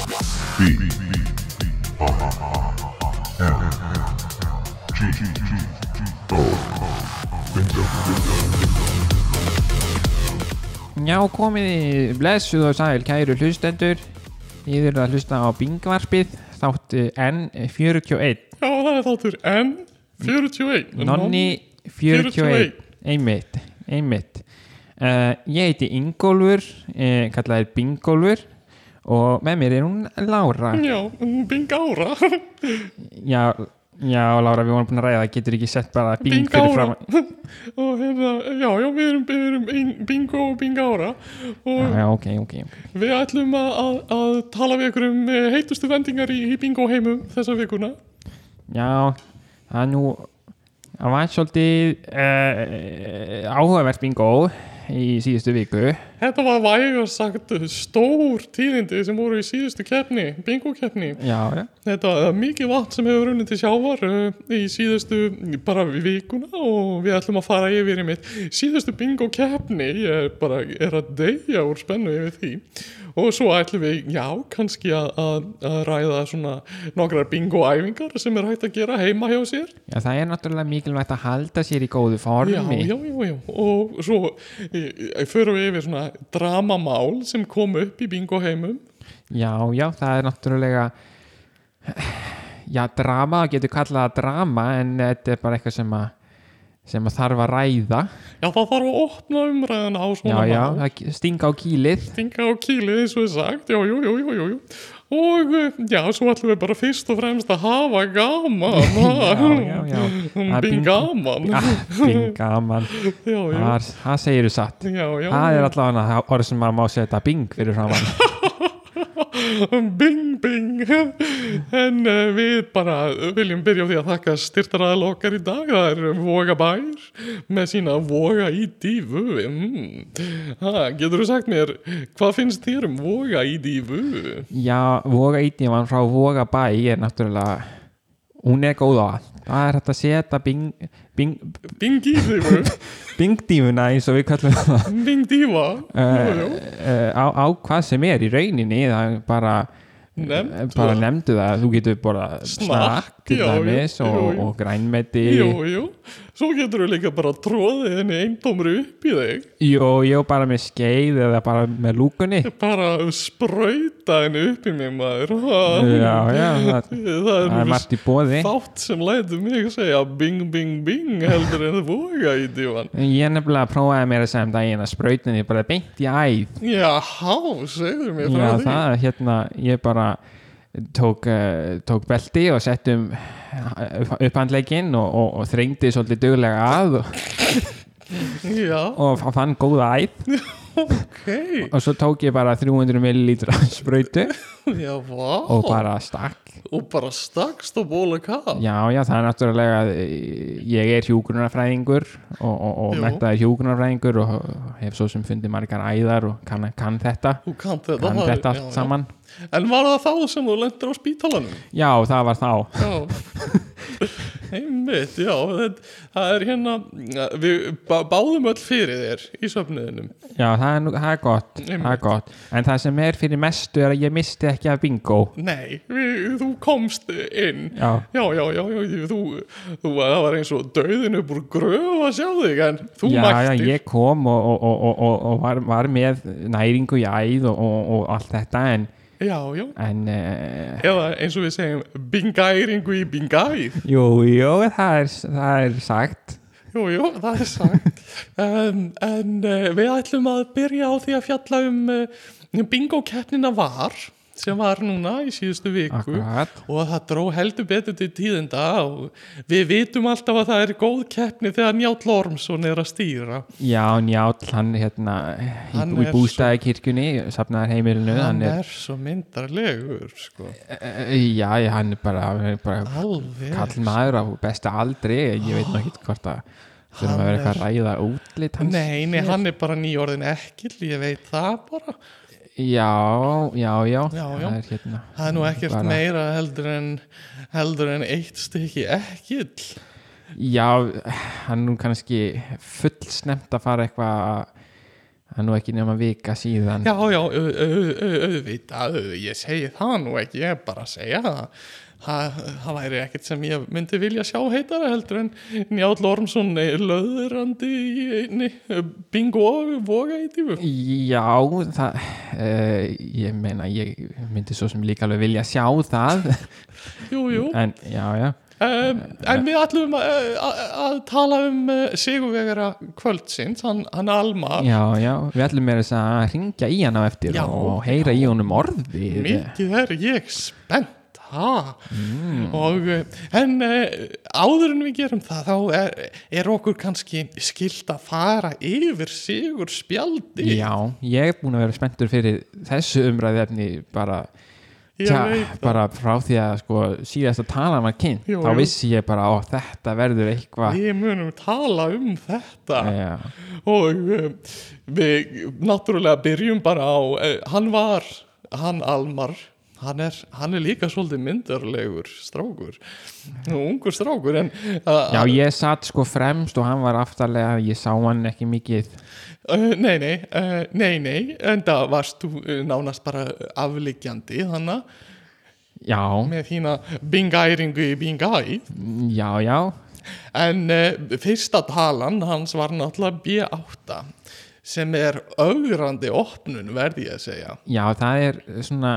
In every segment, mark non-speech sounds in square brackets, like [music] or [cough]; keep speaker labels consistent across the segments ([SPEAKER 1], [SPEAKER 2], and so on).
[SPEAKER 1] B I L G O Bingo, bingo, bingo.
[SPEAKER 2] Já, komið í blessuð og sæl kæru hlustendur Ég er að hlusta á Bingvarpið þátt N41
[SPEAKER 3] Já, það er þáttur N41
[SPEAKER 2] Nonni 41 Einmitt, einmitt uh, Ég heiti Ingólfur uh, kallað er Bingólfur og með mér er hún Lára
[SPEAKER 3] Já, mm, Bingára
[SPEAKER 2] Já, já Lára, við vorum búin að ræða getur ekki sett bara Bing fyrir
[SPEAKER 3] Bingára
[SPEAKER 2] fram
[SPEAKER 3] [laughs] Og hérna, já, já, við erum, við erum ein- Bingo og Bingára Og
[SPEAKER 2] Já, ok, ok
[SPEAKER 3] við ætlum að, að, að tala við ykkur um eh, heitustu vendingar í, í Bingo heimum þessa vikuna
[SPEAKER 2] Já, það er nú það var svolítið uh, áhugavert Bingo í síðustu viku
[SPEAKER 3] Þetta var vægar sagt stór tíðindi sem voru í síðustu keppni, bingo keppni.
[SPEAKER 2] Já, já
[SPEAKER 3] Þetta er mikið vatn sem hefur runnið til sjávar uh, í síðustu bara vikuna og við ætlum að fara yfir í mitt síðustu bingo keppni, ég er bara er að deyja úr spennu yfir því og svo ætlum við, já, kannski að, að, að ræða svona nokkrar bingoæfingar sem er hægt að gera heima hjá sér
[SPEAKER 2] Já, það er náttúrulega mikilvægt að halda sér í góðu formi.
[SPEAKER 3] Já, já, já, já. Og svo e, e, förum við yfir svona dramamál sem kom upp í bingo heimum.
[SPEAKER 2] já, já, það er náttúrulega, já, drama, það getur kallað það drama, en þetta er bara eitthvað sem að, sem að þarf að ræða.
[SPEAKER 3] Já, það þarf að opna umræðina á
[SPEAKER 2] Já,
[SPEAKER 3] svona
[SPEAKER 2] já,
[SPEAKER 3] mál.
[SPEAKER 2] það stinga á
[SPEAKER 3] [laughs]
[SPEAKER 2] kýlið.
[SPEAKER 3] Stinga á kýlið eins og er sagt, já, jú, jú, jú, jú, jú. Og eh, já, svo ætlum við bara fyrst og fremst að hafa gaman.
[SPEAKER 2] [laughs]
[SPEAKER 3] ha? Um
[SPEAKER 2] Já, já, já. Það er
[SPEAKER 3] Bing
[SPEAKER 2] bingo.
[SPEAKER 3] gaman.
[SPEAKER 2] Já, Ah, binga, mann,
[SPEAKER 3] Já, já,
[SPEAKER 2] Ah, það segir þú satt.
[SPEAKER 3] já, já.
[SPEAKER 2] Það er allavega það orð sem maður má setja bing fyrir framann.
[SPEAKER 3] Um Bing, bing [laughs] En uh, við bara viljum byrja á því að þakka styrtaraðal okkar í dag Það er Voga Bær með sína Voga í dífu mm. ha, Getur þú sagt mér, hvað finnst þér um Voga í dífu?
[SPEAKER 2] Já, Voga Ídíman frá Voga bæ er náttúrulega hún er góð á allt það er hægt að setja bing, bing,
[SPEAKER 3] Bing í
[SPEAKER 2] [laughs]
[SPEAKER 3] dífu,
[SPEAKER 2] bingdífuna eins og við kallum það
[SPEAKER 3] bing dífa Jú,
[SPEAKER 2] uh,
[SPEAKER 3] jú,
[SPEAKER 2] á, á hvað sem er í rauninni það er bara
[SPEAKER 3] Nefndu
[SPEAKER 2] Eh, bara
[SPEAKER 3] það.
[SPEAKER 2] nefndu það, þú getur bara
[SPEAKER 3] Snakk,
[SPEAKER 2] snakk til
[SPEAKER 3] já, já,
[SPEAKER 2] dæmis og,
[SPEAKER 3] jú, jú.
[SPEAKER 2] og grænmeti
[SPEAKER 3] jú, jú Svo getur þú líka bara tróðið henni eintómri upp í þig
[SPEAKER 2] jú, jú, bara með skeið eða bara með lúkunni
[SPEAKER 3] Bara sprauta henni upp í mig maður ha.
[SPEAKER 2] já, já, það,
[SPEAKER 3] [laughs] Það er,
[SPEAKER 2] það er margt í bóði
[SPEAKER 3] þátt sem lætur mig segja bing bing bing heldur en voga í dívan
[SPEAKER 2] ég nefnilega prófaði mér að segja um daginn að sprautinni bara beint í æð
[SPEAKER 3] Jaha, segðu mér frá
[SPEAKER 2] Já,
[SPEAKER 3] því
[SPEAKER 2] það, hérna, ég bara tók, uh, tók belti og settum upphandleikinn og, og, og þrengdi svolítið duglega að og,
[SPEAKER 3] Já,
[SPEAKER 2] og fann góða æð
[SPEAKER 3] ok
[SPEAKER 2] og svo tók ég bara 300 millilítra spröytu
[SPEAKER 3] Já, vá
[SPEAKER 2] og bara stakk
[SPEAKER 3] og bara stakst á bóla kall
[SPEAKER 2] Já, já, það er náttúrulega að ég er hjúgrunarfræðingur og, og, og
[SPEAKER 3] Jú.
[SPEAKER 2] mentaði hjúgrunarfræðingur og hef svo sem fundið margar æðar og kann, kann þetta,
[SPEAKER 3] Þú kannt þetta,
[SPEAKER 2] kann
[SPEAKER 3] það er-
[SPEAKER 2] þetta
[SPEAKER 3] já,
[SPEAKER 2] allt saman
[SPEAKER 3] já. En var það þá sem þú lendir á spítalanum?
[SPEAKER 2] Já, það var þá
[SPEAKER 3] Já [laughs] Einmitt, já þetta, Það er hérna Við bá- báðum öll fyrir þér í söfniðinum
[SPEAKER 2] Já, það er, nú- það er gott, það er
[SPEAKER 3] Einmitt.
[SPEAKER 2] gott En það sem er fyrir mestu er að ég misti ekki af bingo
[SPEAKER 3] Nei, við, þú komst inn
[SPEAKER 2] Já,
[SPEAKER 3] Já, já, já, já, ég- þú, þú, það var eins og döðin upp úr gröf að sjá þig, en þú
[SPEAKER 2] já, já
[SPEAKER 3] mættir.
[SPEAKER 2] ég kom og, og, og, og- og, og var, var með næringu í æð og, og, og allt þetta En,
[SPEAKER 3] Já, já,
[SPEAKER 2] en uh,
[SPEAKER 3] eða eins og við segjum, bingæringu í bingæð.
[SPEAKER 2] jú, jú, það er, það er sagt
[SPEAKER 3] Jú, jú, það er sagt. um, en uh, við ætlum að byrja á því að fjalla um uh, bingo-keppnina var, sem var núna í síðustu viku.
[SPEAKER 2] Akkurat
[SPEAKER 3] Og það dró heldur betur til tíðinda og við vitum alltaf að það er góð keppni þegar Njáll Ormsson er að stýra.
[SPEAKER 2] Já, Njáll, hann hérna
[SPEAKER 3] Hann
[SPEAKER 2] í, í
[SPEAKER 3] er
[SPEAKER 2] bústæði kirkjunni, safnaðar heimilinu
[SPEAKER 3] Hann
[SPEAKER 2] hann er,
[SPEAKER 3] er svo myndarlegur, sko.
[SPEAKER 2] er, já, já, hann er bara, hann er bara
[SPEAKER 3] Alveg.
[SPEAKER 2] kall maður á besta aldri ég veit nú ekki hvort að þurfum að vera eitthvað að ræða útlit hans
[SPEAKER 3] Nei, nei, hann er bara nýjórðin ekkil, ég veit það bara.
[SPEAKER 2] já, já, já,
[SPEAKER 3] Já, já.
[SPEAKER 2] það er hérna
[SPEAKER 3] Það er nú ekkert
[SPEAKER 2] Bara-
[SPEAKER 3] meira heldur en, heldur en eitt stykki ekkil.
[SPEAKER 2] já, hann er nú kannski full snemt að fara eitthvað að það er nú ekki nema vika síðan
[SPEAKER 3] Já, já, au- au- au- auðvitað, au- ég segi það nú ekki, ég er bara að segja það. Það, það væri ekkert sem ég myndi vilja sjá heitara heldur en Njáll Ormsson eh, löðrandi í einni eh, bingo og voga í tífu.
[SPEAKER 2] Já, það, uh, ég meina, ég myndi svo sem líka alveg vilja sjá það,
[SPEAKER 3] Jú, jú.
[SPEAKER 2] en já, já,
[SPEAKER 3] Um, en við ætlum að, að, að tala um eh, sigurvegara kvöldsins, hann, hann Almar.
[SPEAKER 2] já, já, við ætlum meira þess að ringja í hann á eftir
[SPEAKER 3] Já,
[SPEAKER 2] og heyra í honum orðið.
[SPEAKER 3] Mikið er ég spennt ha? og eh, en eh, áður en við gerum það þá er, er okkur kannski skilt að fara yfir sigur spjaldi
[SPEAKER 2] Já, ég er búin að vera spenntur fyrir þessu umræði efni bara,
[SPEAKER 3] ég veit það
[SPEAKER 2] bara frá því að sko, síðast að tala var kynnt,
[SPEAKER 3] Jú,
[SPEAKER 2] þá
[SPEAKER 3] jú.
[SPEAKER 2] vissi ég bara, ó, þetta verður eitthvað.
[SPEAKER 3] Við munum tala um þetta
[SPEAKER 2] Já,
[SPEAKER 3] og eh, við náttúrulega byrjum bara á, eh, hann var, hann Almar, hann er, hann er líka svolítið myndarlegur strákur, ungur strákur en eh,
[SPEAKER 2] já, ég satt sko fremst og hann var aftarlega, ég sá hann ekki mikið.
[SPEAKER 3] Uh, nei, nei, uh, nei, nei, enda varst þú uh, nánast bara afliggjandi þannig
[SPEAKER 2] Já,
[SPEAKER 3] með þína bingæringu í bingæ
[SPEAKER 2] já, já,
[SPEAKER 3] en uh, fyrsta talan hans var náttúrulega B8 sem er augrandi opnun verði ég að segja.
[SPEAKER 2] Já, það er svona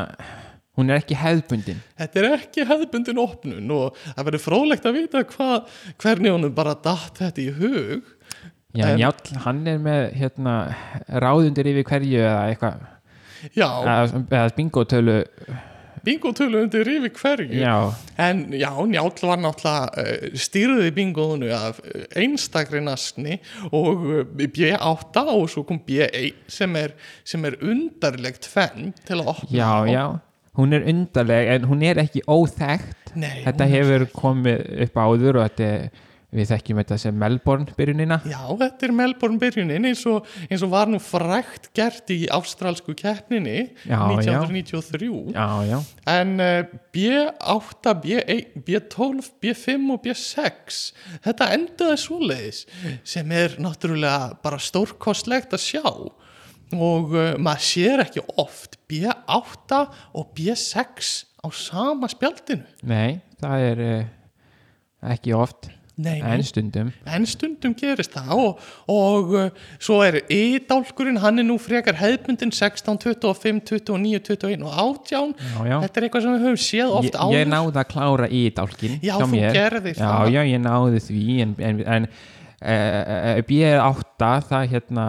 [SPEAKER 2] hún er ekki hefðbundin
[SPEAKER 3] Þetta er ekki hefðbundin opnun og það verður fróðlegt að vita hva, hvernig honum bara datt þetta í hug.
[SPEAKER 2] Já,
[SPEAKER 3] En-
[SPEAKER 2] Njáll, hann er með hérna, ráðundir yfir hverju eða eitthvað,
[SPEAKER 3] Já,
[SPEAKER 2] eða, eða bingotölu
[SPEAKER 3] bingotölu undir yfir hverju.
[SPEAKER 2] Já,
[SPEAKER 3] En já, Njáll var náttúrulega uh, stýrði bingoðunu af uh, einstakri nasni og uh, B8 og svo kom B1 sem er, sem er undarlegt fenn til að opna.
[SPEAKER 2] já,
[SPEAKER 3] á.
[SPEAKER 2] já hún er undarleg en hún er ekki óþekkt
[SPEAKER 3] Nei,
[SPEAKER 2] þetta
[SPEAKER 3] hún-
[SPEAKER 2] hefur komið upp áður og þetta er, við þekkjum þetta sem Melbourne byrjunina
[SPEAKER 3] Já, þetta er Melbourne byrjunin eins og, eins og var nú frækt gert í ástralsku keppninni
[SPEAKER 2] Já, já.
[SPEAKER 3] 1993
[SPEAKER 2] Já, já,
[SPEAKER 3] en uh, B8, B1, B12, B5 og B6 þetta endaði svoleiðis sem er náttúrulega bara stórkostlegt að sjá og uh, maður sér ekki oft B8 og B6 á sama spjaldinu
[SPEAKER 2] nei, það er uh, ekki oft
[SPEAKER 3] Nei,
[SPEAKER 2] en stundum
[SPEAKER 3] en stundum gerist það og, og uh, svo er E-dálkurinn, hann er nú frekar hefbundin 16, 25, 29, 21 og 18
[SPEAKER 2] Já, já.
[SPEAKER 3] þetta er eitthvað sem við höfum séð
[SPEAKER 2] ég,
[SPEAKER 3] oft áður
[SPEAKER 2] ég náði að klára í dálkin
[SPEAKER 3] Já, þú gerðir
[SPEAKER 2] já,
[SPEAKER 3] það.
[SPEAKER 2] Já, ég náði því en, en, en uh, B8 það hérna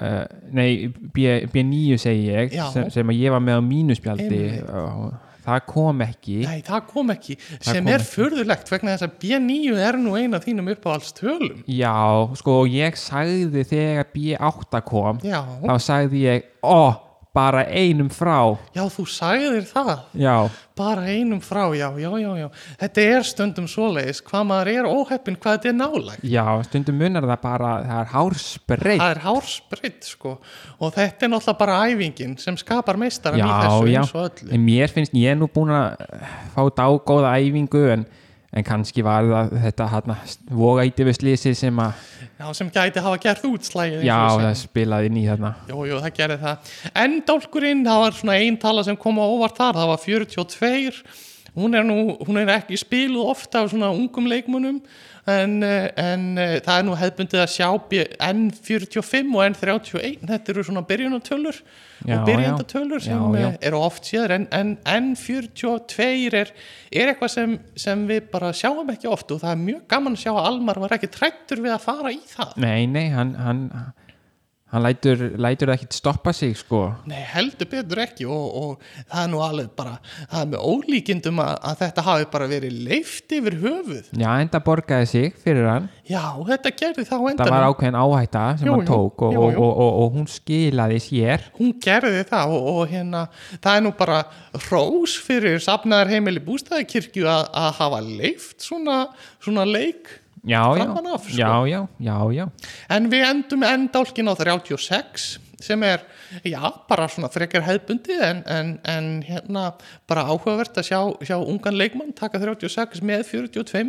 [SPEAKER 2] uh, nei, B, B9 segi ég
[SPEAKER 3] Já.
[SPEAKER 2] sem, sem að ég var með á mínuspjaldi
[SPEAKER 3] Einmitt.
[SPEAKER 2] það kom ekki
[SPEAKER 3] Nei, það kom ekki, sem
[SPEAKER 2] kom
[SPEAKER 3] er furðulegt vegna þess að B9 er nú eina af þínum uppáhaldstölum.
[SPEAKER 2] Já, sko, ég sagði þegar B8 kom
[SPEAKER 3] Já,
[SPEAKER 2] þá sagði ég, ó, bara einum frá
[SPEAKER 3] já, þú sagðir það,
[SPEAKER 2] Já,
[SPEAKER 3] bara einum frá, já, já, já, já. Þetta er stundum svoleiðis, hvað maður er óheppin, hvað þetta er nálægt.
[SPEAKER 2] já, stundum munar það bara það er hársbreytt
[SPEAKER 3] Það er hárspritt, sko, og þetta er náttúrulega bara æfingin sem skapar meistaran í
[SPEAKER 2] já,
[SPEAKER 3] þessu
[SPEAKER 2] já,
[SPEAKER 3] eins og öllu.
[SPEAKER 2] en mér finnst ég er nú búin að eh, fá dágóða æfingu en, en kannski var það þetta hana, voga íti við slísið sem að
[SPEAKER 3] Já, sem gæti hafa gert útslægið. eins
[SPEAKER 2] já,
[SPEAKER 3] og við
[SPEAKER 2] það
[SPEAKER 3] segjum.
[SPEAKER 2] spilaði inn í þarna
[SPEAKER 3] Jú, jú, það gerði það. En dálkurinn, það var svona einn tala sem kom á óvart þar, það var 42. Hún er nú, hún er ekki spiluð ofta af svona ungum leikmunum, en, eh, en eh, það er nú hefbundið að sjá B- N45 og N31, þetta eru svona byrjunatölur
[SPEAKER 2] Já,
[SPEAKER 3] og byrjandatölur
[SPEAKER 2] já.
[SPEAKER 3] sem
[SPEAKER 2] Já, já.
[SPEAKER 3] eh, eru oft síðar, en, en N42 er, er eitthvað sem, sem við bara sjáum ekki oft og það er mjög gaman að sjá að Almar var ekki trættur við að fara í það.
[SPEAKER 2] nei, nei, hann hann, hann lætur, lætur ekki stoppa sig sko
[SPEAKER 3] Nei, heldur betur ekki og, og það er nú alveg bara, það er með ólíkindum að, að þetta hafi bara verið leift yfir höfuð.
[SPEAKER 2] já, enda borgaði sig fyrir hann
[SPEAKER 3] Já, þetta gerði það á
[SPEAKER 2] það
[SPEAKER 3] endanum.
[SPEAKER 2] var ákveðin áhætta sem
[SPEAKER 3] Jú,
[SPEAKER 2] hann
[SPEAKER 3] jú,
[SPEAKER 2] tók og,
[SPEAKER 3] jú, jú.
[SPEAKER 2] Og, og, og, og hún skilaði sér
[SPEAKER 3] Hún gerði það og, og hérna, það er nú bara rós fyrir safnaðar heimili bústæðakirkju að, að hafa leift svona, svona leik.
[SPEAKER 2] já, já,
[SPEAKER 3] Framan af, sko.
[SPEAKER 2] já, já, já, já
[SPEAKER 3] En við endum með endálkin á 36 sem er, já, bara svona frekar hefðbundið en, en, en hérna bara áhugavert að sjá, sjá ungan leikmann taka 36 með 42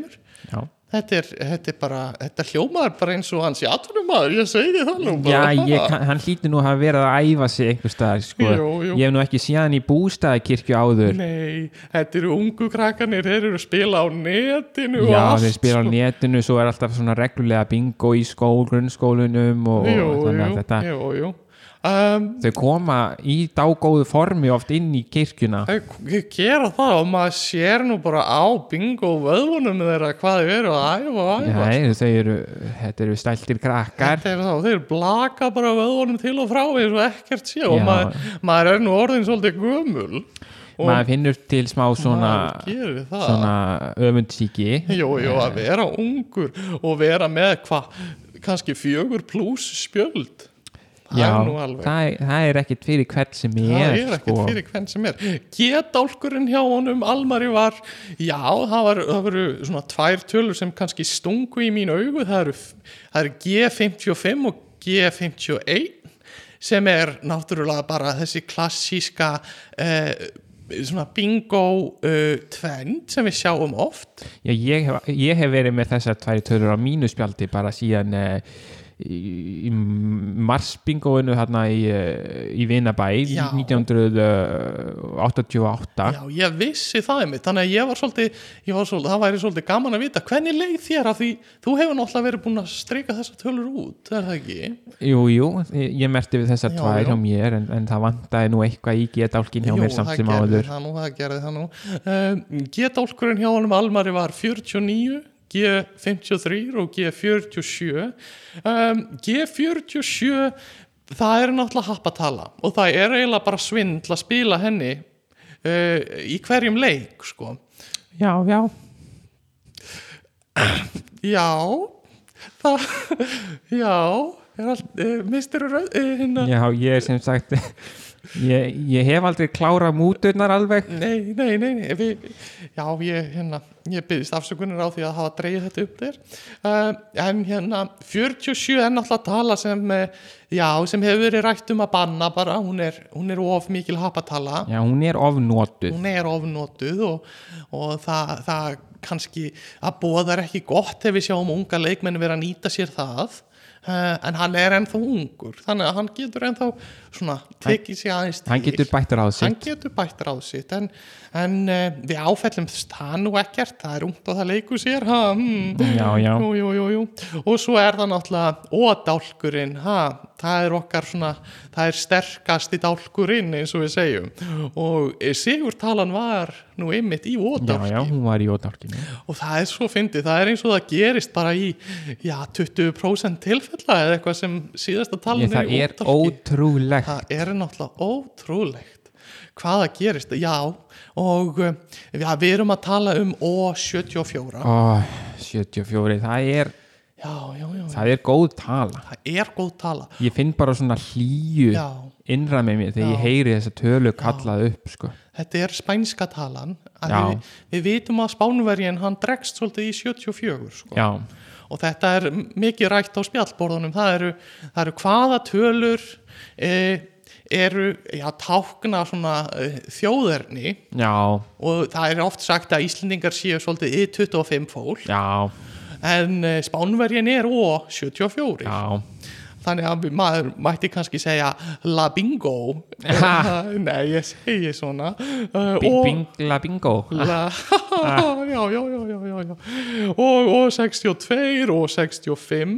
[SPEAKER 2] já,
[SPEAKER 3] Þetta er, þetta er bara, þetta hljómaður bara eins og hans í atvinnumæður, ég segi þér það nú
[SPEAKER 2] Já,
[SPEAKER 3] bara.
[SPEAKER 2] ég, kann- hann hlýtur nú að hafa verið að æfa sig einhver staðar, sko.
[SPEAKER 3] Jú, jú.
[SPEAKER 2] Ég hef nú ekki séð hann í bústæðakirkju áður.
[SPEAKER 3] Nei, þetta eru ungu krakkanir, þeir eru að spila á netinu og
[SPEAKER 2] Já,
[SPEAKER 3] allt. sko.
[SPEAKER 2] þeir spila á netinu, svo er alltaf svona reglulega bingo í skól, grunnskólinum og,
[SPEAKER 3] Jú,
[SPEAKER 2] og þannig að
[SPEAKER 3] jú,
[SPEAKER 2] þetta,
[SPEAKER 3] jú, jú. Um,
[SPEAKER 2] þau koma í dágóðu formi oft inn í kirkjuna.
[SPEAKER 3] ég eh, gera það og maður sér nú bara á bingo vöðvunum þeirra hvað þau eru að æfa og æfa.
[SPEAKER 2] Nei, þau eru, þetta eru stæltir krakkar.
[SPEAKER 3] Þetta er þá, þeir blaka bara vöðvunum til og frá eins og ekkert sé og
[SPEAKER 2] Já.
[SPEAKER 3] maður, maður er nú orðin svolítið gömul. Og
[SPEAKER 2] Maður finnur til smá svona,
[SPEAKER 3] maður gerir það.
[SPEAKER 2] svona öfundsíki.
[SPEAKER 3] Jú, jú, að vera ungur og vera með hvað, kannski fjögur pluss spjöld. Það
[SPEAKER 2] Já,
[SPEAKER 3] er nú alveg.
[SPEAKER 2] það, er- það er ekkert fyrir hvern sem ég
[SPEAKER 3] Það
[SPEAKER 2] er,
[SPEAKER 3] er ekkert
[SPEAKER 2] sko.
[SPEAKER 3] fyrir hvern sem er. Getálkurinn hjá honum, Almari var, já, það, var, það voru svona tvær tölur sem kannski stungu í mín augu. Það eru, það eru G55 og G51 sem er náttúrulega bara þessi klassíska eh, svona bingo uh, tvend sem við sjáum oft.
[SPEAKER 2] Já, ég, hef, ég hef verið með þessar tværi tölur á mínu spjaldi bara síðan uh, í, í marsbingóinu hérna í, uh, í Vinabæ
[SPEAKER 3] Já.
[SPEAKER 2] 1988
[SPEAKER 3] Já, ég vissi það einmitt, þannig að ég var svolítið, ég var svolítið, það væri svolítið gaman að vita hvernig leið þér af því þú hefur náttúrulega verið búin að streika þessa tölur út, er það ekki?
[SPEAKER 2] Jú, jú, ég merti við þessar
[SPEAKER 3] Já,
[SPEAKER 2] tvær
[SPEAKER 3] já.
[SPEAKER 2] hjá mér en, en það vantaði nú eitthvað í getálkin hjá
[SPEAKER 3] Jú,
[SPEAKER 2] mér samt
[SPEAKER 3] það
[SPEAKER 2] sem
[SPEAKER 3] gerði
[SPEAKER 2] áður
[SPEAKER 3] það nú, það gerði það nú um, G-dálkurinn hjá honum Almari var 49 G53 og G47 um, G47 það er náttúrulega happatala og það er eiginlega bara svindl að spila henni uh, í hverjum leik sko.
[SPEAKER 2] Já, já,
[SPEAKER 3] já það, já er allt, uh, mistur röð uh, hérna,
[SPEAKER 2] já, ég er sem sagt [laughs] ég, ég hef aldrei klárað múturnar alveg
[SPEAKER 3] Nei, nei, nei, nei. Við, já, ég, hérna, ég byggðist afsökunar á því að hafa dreigð þetta upp þér. Uh, en hérna, 47 er náttúrulega tala sem, eh, já, sem hefur verið rætt um að banna bara, hún er, hún er of mikil hapatala,
[SPEAKER 2] Já, hún er ofnotuð
[SPEAKER 3] hún er ofnotuð og, og það, það kannski, að bóðar ekki gott ef við sjáum unga leikmenn vera að nýta sér það. Uh, en hann er ennþá ungur, þannig að hann getur ennþá svona tekið sig aðeins til
[SPEAKER 2] Hann getur bættur á sig
[SPEAKER 3] hann getur bætt ráð sitt en, en uh, við áfellum það nú ekkert, það er ungt og það leikur sér ha, hmm.
[SPEAKER 2] Já, já.
[SPEAKER 3] Jú, jú, jú, jú. og svo er það náttúrulega ódálkurinn, ha, það er okkar svona, það er sterkasti dálkurinn eins og við segjum og eh, sigurtalan var nú ymmit í
[SPEAKER 2] Já, já,
[SPEAKER 3] ódálki
[SPEAKER 2] hún var í ótálkinu
[SPEAKER 3] og það er svo fyndið, það er eins og það gerist bara í, já, 20% tilfella eða eitthvað sem síðasta talan
[SPEAKER 2] Ég, það er
[SPEAKER 3] í ódálki
[SPEAKER 2] ótrúlegt
[SPEAKER 3] það er náttúrulega ótrúlegt hvaða gerist, já og uh, já, við erum að tala um O74
[SPEAKER 2] Ó, 74, það er,
[SPEAKER 3] já, já, já,
[SPEAKER 2] það er góð tala
[SPEAKER 3] það er góð tala
[SPEAKER 2] Ég finn bara svona hlýju
[SPEAKER 3] já,
[SPEAKER 2] innra með mér þegar
[SPEAKER 3] Já.
[SPEAKER 2] ég heyri þessa tölu kallað upp sko.
[SPEAKER 3] þetta er spænska talan að
[SPEAKER 2] Já.
[SPEAKER 3] við, við vitum að Spánvergin hann dregst svolítið í 74 sko.
[SPEAKER 2] Já,
[SPEAKER 3] og þetta er m- mikið rætt á spjallborðunum það eru, það eru hvaða tölur e, eru já, tákna svona e, þjóðerni
[SPEAKER 2] já,
[SPEAKER 3] og það er oft sagt að Íslendingar séu svolítið í 25 fól
[SPEAKER 2] já,
[SPEAKER 3] en eh, Spánverjin er ó 74
[SPEAKER 2] já
[SPEAKER 3] þannig að við- maður mætti kannski segja la
[SPEAKER 2] [laughs]
[SPEAKER 3] bingo
[SPEAKER 2] Ha.
[SPEAKER 3] nei ég segi svona uh,
[SPEAKER 2] Bing,
[SPEAKER 3] og-
[SPEAKER 2] Bingla bingo
[SPEAKER 3] [laughs] la, já, já, já, já, já, já. Og, og 62 og 65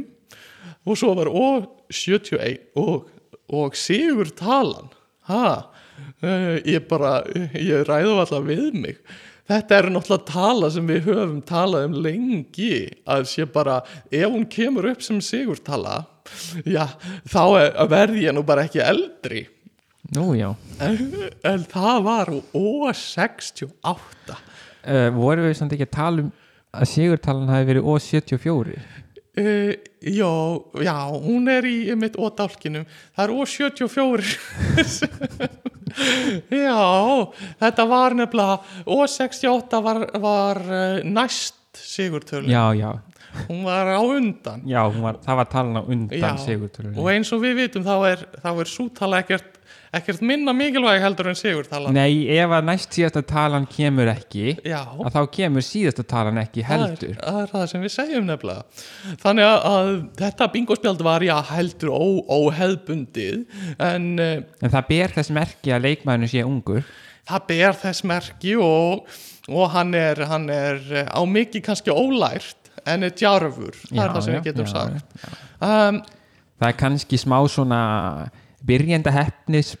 [SPEAKER 3] og svo var og 71 og, og sigur talan ha, eh, ég bara ég ræðu alltaf við mig þetta er náttúrulega tala sem við höfum talað um lengi að sé bara, ef hún kemur upp sem sigurtala já, þá er, verð ég nú bara ekki eldri
[SPEAKER 2] Nú já
[SPEAKER 3] en, en það var O68
[SPEAKER 2] uh, Voru við samt ekki að tala um að sigurtalan hafi verið O74
[SPEAKER 3] Uh, já, já, hún er í mitt ódálkinum, það er Ó74 [laughs] Já, þetta var nefnilega Ó68 var, var eh, næst sigurtölu
[SPEAKER 2] Já, já,
[SPEAKER 3] hún var á undan
[SPEAKER 2] já, hún var, það var talan á undan
[SPEAKER 3] Já,
[SPEAKER 2] sigurtölunni
[SPEAKER 3] og eins og við vitum þá er, þá er sútala ekkert ekkert minna mikilvæg heldur en sigur talan
[SPEAKER 2] Nei, ef að næst síðasta talan kemur ekki
[SPEAKER 3] Já,
[SPEAKER 2] að þá kemur síðasta talan ekki heldur
[SPEAKER 3] Það er, það er það sem við segjum nefnilega Þannig að, að þetta bingospjald var já heldur ó, óheðbundið en uh,
[SPEAKER 2] En það ber þess merki að leikmaðurinn sé ungur
[SPEAKER 3] það ber þess merki og, og hann, er, hann er eh, á mikið kannski ólært en er djarfur, það
[SPEAKER 2] Já,
[SPEAKER 3] er það sem við
[SPEAKER 2] já,
[SPEAKER 3] getum
[SPEAKER 2] já,
[SPEAKER 3] sagt um,
[SPEAKER 2] Það er kannski smá svona byrjenda hefnis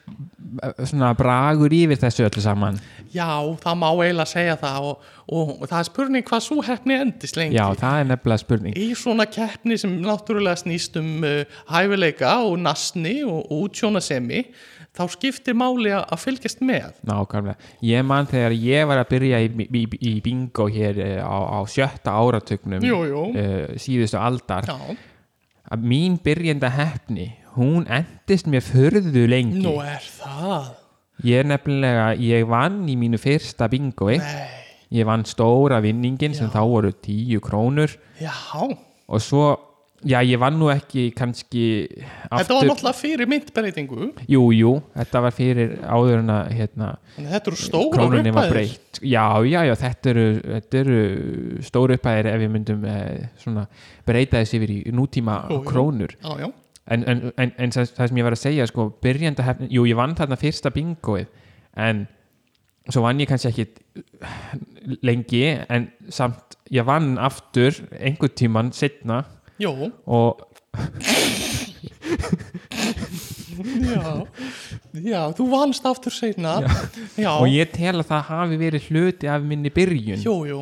[SPEAKER 2] svona bragur yfir þessu öllu saman
[SPEAKER 3] Já, það má eiginlega segja það og, og, og það er spurning hvað svo hefni endist lengi
[SPEAKER 2] Já, það er nefnilega spurning
[SPEAKER 3] í svona keppni sem náttúrulega snýst um uh, hæfileika og nasni og, og útsjónasemi þá skiptir máli að að fylgjast með
[SPEAKER 2] Nákvæmlega. Ég man þegar ég var að byrja í, í, í bingo hér eh, á, á sjötta áratugnum
[SPEAKER 3] Jú, jú.
[SPEAKER 2] eh, síðustu aldar
[SPEAKER 3] Já,
[SPEAKER 2] að mín byrjenda hefni hún endist mér förðu lengi
[SPEAKER 3] nú er það
[SPEAKER 2] ég er nefnilega, ég vann í mínu fyrsta bingoi
[SPEAKER 3] Nei,
[SPEAKER 2] ég vann stóra vinningin sem þá voru tíu krónur
[SPEAKER 3] já
[SPEAKER 2] og svo, já ég vann nú ekki kannski
[SPEAKER 3] Þetta var
[SPEAKER 2] aftur
[SPEAKER 3] náttúrulega fyrir myndbreytingu
[SPEAKER 2] jú, jú, þetta var fyrir áður en að hérna,
[SPEAKER 3] en þetta eru stóra
[SPEAKER 2] krónunni var breytt já, já, já, þetta eru, þetta eru stóru uppæðir ef við myndum eh, svona breyta þess yfir í nútíma
[SPEAKER 3] Jú, jú.
[SPEAKER 2] krónur
[SPEAKER 3] Já, já,
[SPEAKER 2] en, en, en, en það, það sem ég var að segja sko, byrjanda hefn, jú, ég vann þarna fyrsta bingoið en svo vann ég kannski ekki lengi en samt ég vann aftur einhvern tíman setna
[SPEAKER 3] jú,
[SPEAKER 2] og
[SPEAKER 3] já Já, þú vannst aftur seinna Já,
[SPEAKER 2] og ég tel að það hafi verið hluti af minni byrjun
[SPEAKER 3] Jú, jú,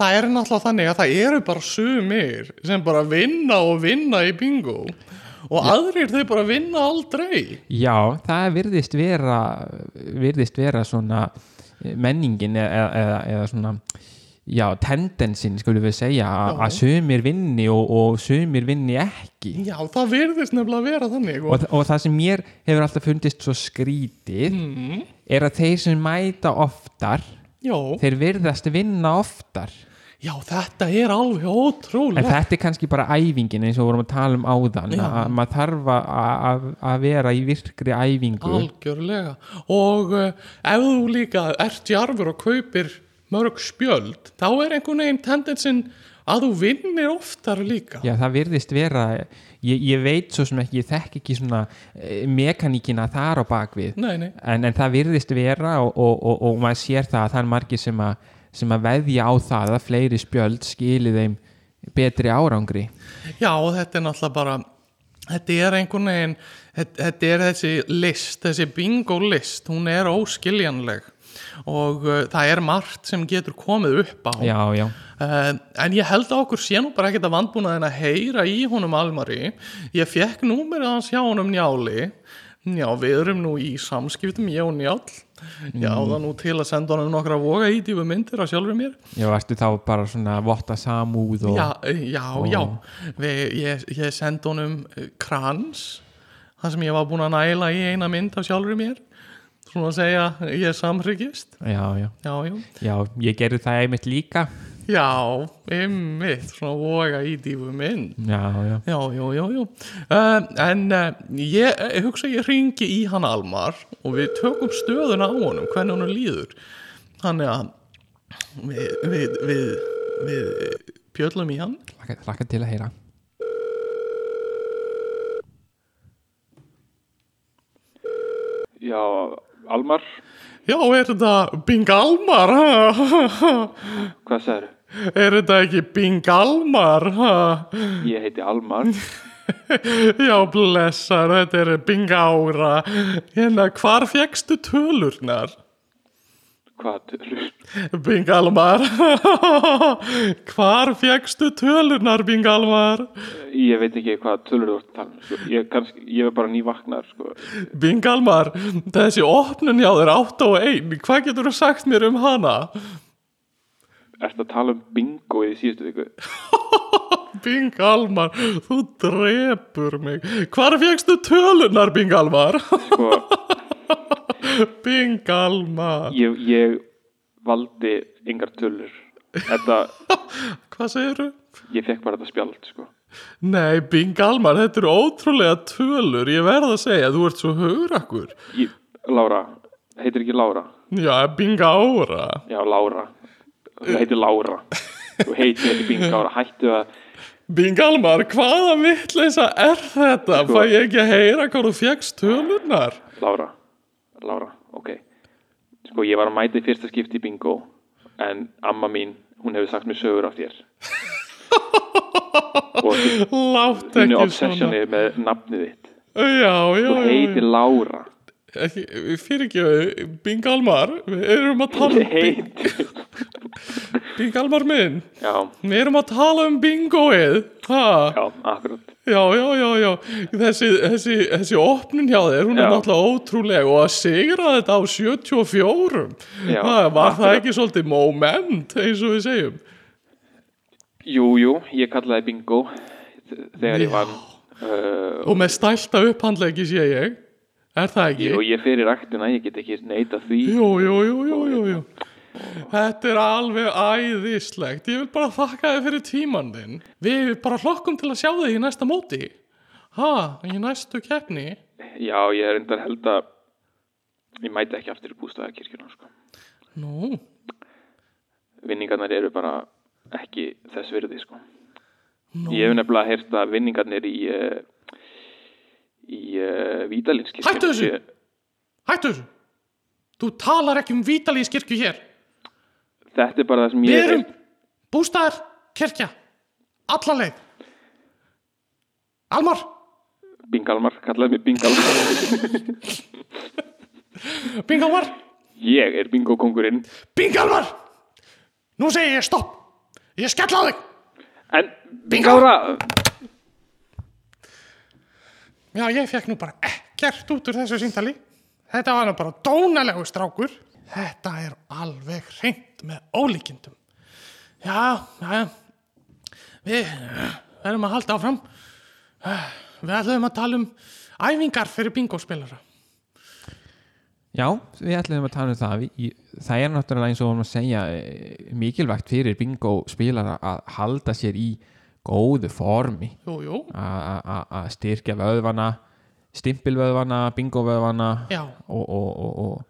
[SPEAKER 3] það er náttúrulega þannig að það eru bara sumir sem bara vinna og vinna í bingo og aðrir þau bara vinna aldrei
[SPEAKER 2] Já, það virðist vera virðist vera svona eh, menningin eða, eða, eða svona já, tendensin skulum við segja a-
[SPEAKER 3] Já.
[SPEAKER 2] að sumir vinni og, og sumir vinni ekki
[SPEAKER 3] Já, það virðist nefnilega að vera þannig
[SPEAKER 2] og,
[SPEAKER 3] og,
[SPEAKER 2] og það sem mér hefur alltaf fundist svo skrítið
[SPEAKER 3] Mhm.
[SPEAKER 2] er að þeir sem mæta oftar
[SPEAKER 3] já,
[SPEAKER 2] þeir virðast vinna oftar
[SPEAKER 3] já, þetta er alveg
[SPEAKER 2] en
[SPEAKER 3] ótrúlega
[SPEAKER 2] þetta er kannski bara æfingin eins og við vorum að tala um áðan
[SPEAKER 3] Já.
[SPEAKER 2] að maður þarf að- að að vera í virkri æfingu
[SPEAKER 3] Algjörlega og uh, ef þú líka ert jarfur og kaupir mörg spjöld þá er einhvern veginn tendensin að þú vinnir oftar líka
[SPEAKER 2] Já, það virðist vera, ég, ég veit svo sem ekki, ég þekk ekki svona eh, mekaníkina þar á bakvið,
[SPEAKER 3] Nei, nei,
[SPEAKER 2] en, en það virðist vera og, og, og, og maður sér það að það er margir sem að, sem að veðja á það að fleiri spjöld skili þeim betri árangri.
[SPEAKER 3] Já, og þetta er náttúrulega bara þetta er einhvern veginn þetta, þetta er þessi list, þessi bingo list hún er óskiljanleg og uh, það er margt sem getur komið upp á
[SPEAKER 2] Já, já,
[SPEAKER 3] Uh, en ég held að okkur sé nú bara ekkert að vandbúnaðin að heyra í honum Almari ég fekk númerið hans hjá honum Njáli já við erum nú í samskiptum ég og Njál já það nú til að senda honum nokkra voga í dýfu myndir á sjálfur mér
[SPEAKER 2] já, varstu þá bara svona að votta samúð og...
[SPEAKER 3] Já, eh, já, já Við, ég, ég sendi honum eh, krans það sem ég var búin að næla í eina mynd af sjálfur mér svona að segja ég samhryggist
[SPEAKER 2] já, já,
[SPEAKER 3] já, já,
[SPEAKER 2] já, ég gerði það einmitt líka.
[SPEAKER 3] já, ymmið svona voga í dýfu mynd
[SPEAKER 2] Já, já,
[SPEAKER 3] Já, já, já, já. Uh, en uh, ég eh, hugsa að ég ringi í hann Almar og við tökum stöðuna á honum, hvernig honum líður. Þannig að við, við, við, við eh, bjöllum í hann.
[SPEAKER 2] Laka, laka til að heyra.
[SPEAKER 4] Já, Almar,
[SPEAKER 3] Já, er þetta Bing Almar? Ha, ha,
[SPEAKER 4] hvað sagður?
[SPEAKER 3] ha. [laughs] Er þetta ekki Bing Almar? [laughs] Ha?
[SPEAKER 4] Ég heiti Almar.
[SPEAKER 3] Já, blessar, þetta er Bing Ára. Hérna, hvar fegstu tölurnar?
[SPEAKER 4] Hvað tölur?
[SPEAKER 3] Bing Almar. Ha, ha, ha. [laughs] hvar fegstu tölurnar, Bing Almar?
[SPEAKER 4] Ég veit ekki hvað tölur þú ert að tala um. Sko. Ég, kannski, ég er bara nývaknar, sko.
[SPEAKER 3] Bing Almar, þessi opnun hjá þér 8 og 1, hvað getur þú sagt mér um hana?
[SPEAKER 4] Ertu að tala um bingoið í síðustu viku?
[SPEAKER 3] Bing Almar, þú drepur mig. Hvar fegstu tölurnar, Bing [laughs] Almar?
[SPEAKER 4] Sko,
[SPEAKER 3] Bing Almar.
[SPEAKER 4] ég, ég valdi engar tölur. Þetta,
[SPEAKER 3] Hvað segirðu?
[SPEAKER 4] ég fekk bara þetta spjald, sko.
[SPEAKER 3] Nei, Bing Almar, þetta eru ótrúlega tölur, ég verð að segja, þú ert svo hugrakkur.
[SPEAKER 4] Ég,
[SPEAKER 2] Lára, heitir ekki Lára?
[SPEAKER 3] Já, binga ára
[SPEAKER 2] Já, Lára.
[SPEAKER 3] Uh.
[SPEAKER 2] Þú heitir Lára. Þú heitir ekki Bingára. Hættu að...
[SPEAKER 3] Bingalmar, hvaða vittleisa er þetta?
[SPEAKER 2] Sko-
[SPEAKER 3] Fæ ég ekki að heyra hvað þú fegst tölunar?
[SPEAKER 2] Lára, Lára, ok Sko, ég var að mæta í fyrsta skipti í bingo En amma mín, hún hefur sagt mér sögur af
[SPEAKER 3] [laughs]
[SPEAKER 2] þér Og hún
[SPEAKER 3] Látt
[SPEAKER 2] er
[SPEAKER 3] ekki svona
[SPEAKER 2] obsessionið með nafnið þitt
[SPEAKER 3] Já, já,
[SPEAKER 2] Þú heitir
[SPEAKER 3] já
[SPEAKER 2] Lára
[SPEAKER 3] ekki, Fyrir ekki, Bingalmar Við erum að tala
[SPEAKER 2] Þú
[SPEAKER 3] um Bing-
[SPEAKER 2] heitir
[SPEAKER 3] Bingalmar minn
[SPEAKER 2] Já,
[SPEAKER 3] Við erum að tala um bingoið ha?
[SPEAKER 2] já, akkurat
[SPEAKER 3] Já, já, já, já Þessi, þessi, þessi opnun hjá þér Hún er
[SPEAKER 2] Já.
[SPEAKER 3] náttúrulega ótrúleg Og að sigra þetta á 74
[SPEAKER 2] Já,
[SPEAKER 3] ha, Var það
[SPEAKER 2] akkurat.
[SPEAKER 3] ekki svolítið moment Eins og við segjum
[SPEAKER 2] Jú, jú, ég kallaði bingo Þegar ég vann uh,
[SPEAKER 3] Og með stælta upphandlegi sé ég Er það ekki?
[SPEAKER 2] Jú, ég fyrir ræktina, ég get ekki neita því
[SPEAKER 3] Jú, jú, jú, jú, jú, jú. Þetta er alveg æðislegt. Ég vil bara þakka þið fyrir tíman þinn. Við bara hlokkum til að sjá þig í næsta móti. Ha, í næstu keppni.
[SPEAKER 2] Já, ég er reyndar held að Ég mæti ekki aftur í bústæðakirkjuna, sko
[SPEAKER 3] Nú,
[SPEAKER 2] vinningarnar eru bara ekki þess virði sko. ég hef nefnilega heyrt að vinningarnir í uh, í uh, Vítalinski
[SPEAKER 3] Hættu þessu! hættu þessu. Þú talar ekki um vítalískirkju hér.
[SPEAKER 2] þetta er bara það sem
[SPEAKER 3] Við
[SPEAKER 2] ég hef
[SPEAKER 3] erum
[SPEAKER 2] heyrt.
[SPEAKER 3] bústæðar kirkja. Alla leið. Almar,
[SPEAKER 2] Bingalmar, kallaði mig Bingalmar
[SPEAKER 3] bingalmar,
[SPEAKER 2] ég er bingokongurinn
[SPEAKER 3] bingalmar. Nú segi ég stopp. Ég skella á þig.
[SPEAKER 2] en Bingára
[SPEAKER 3] Já, ég fekk nú bara ekkert út úr þessu síntali. Þetta var nú bara dónalegu strákur. Þetta er alveg hreint með ólíkindum. Já, já, já. Við eh, verðum að halda áfram. Eh, Við ætlum að tala um æfingar fyrir bingospilara.
[SPEAKER 5] Já, við ætlum að tala um það Í- í- Það er náttúrulega eins og vorum að segja eh, mikilvægt fyrir bingo spilara að halda sér í góðu formi
[SPEAKER 3] Jú, jú,
[SPEAKER 5] A- a- a- að styrkja vöðvana stimpilvöðvana, bingovöðvana
[SPEAKER 3] Já.
[SPEAKER 5] og, og, og, og,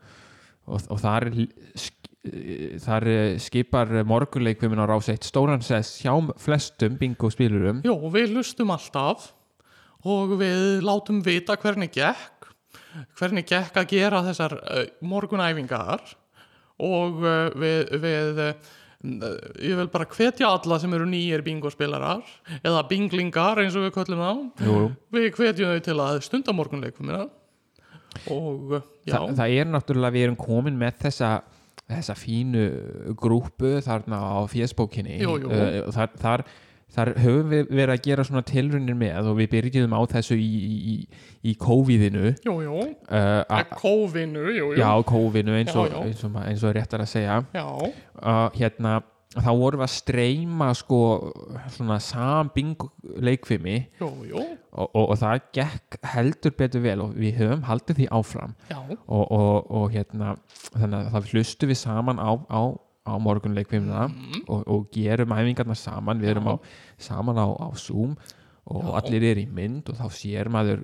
[SPEAKER 5] og, og þar l- sk- eh, þar eh, skipar morguleikvimin á rás eitt stóran sess hjá flestum bingospilurum
[SPEAKER 3] jú, við hlustum alltaf og við látum vita hvernig gekk, hvernig gekk að gera þessar uh, morgunæfingar og uh, við, við uh, ég vil bara hvetja alla sem eru nýjir bingospilarar eða binglingar eins og við köllum þá
[SPEAKER 5] Jú, jú.
[SPEAKER 3] við hvetjum þau til að stunda morgunleikumina og uh, já,
[SPEAKER 5] Þa, það er náttúrulega við erum komin með þessa þessa fínu grúpu þarna á fésbókinni
[SPEAKER 3] Jú, jú.
[SPEAKER 5] Eh, og þar, þar, þar höfum við verið að gera svona tilrunir með og við byrjuðum á þessu í, í, í, í COVID-inu
[SPEAKER 3] jú, jú,
[SPEAKER 5] uh,
[SPEAKER 3] að kófinu jú, jú,
[SPEAKER 5] já, COVID-inu eins og,
[SPEAKER 3] Já, já.
[SPEAKER 5] Eins, og, ma- eins og er réttar að segja
[SPEAKER 3] já.
[SPEAKER 5] uh, hérna, þá vorum við að streyma sko svona sambing leikfimi
[SPEAKER 3] Jú, jú,
[SPEAKER 5] og, og, og það gekk heldur betur vel og við höfum haldið því áfram
[SPEAKER 3] já,
[SPEAKER 5] og, og, og hérna þannig að það hlustu við saman á, á, á morgunleikvimna og, og gerum æfingarnar saman við erum á, saman á, á Zoom og allir eru í mynd og þá sér maður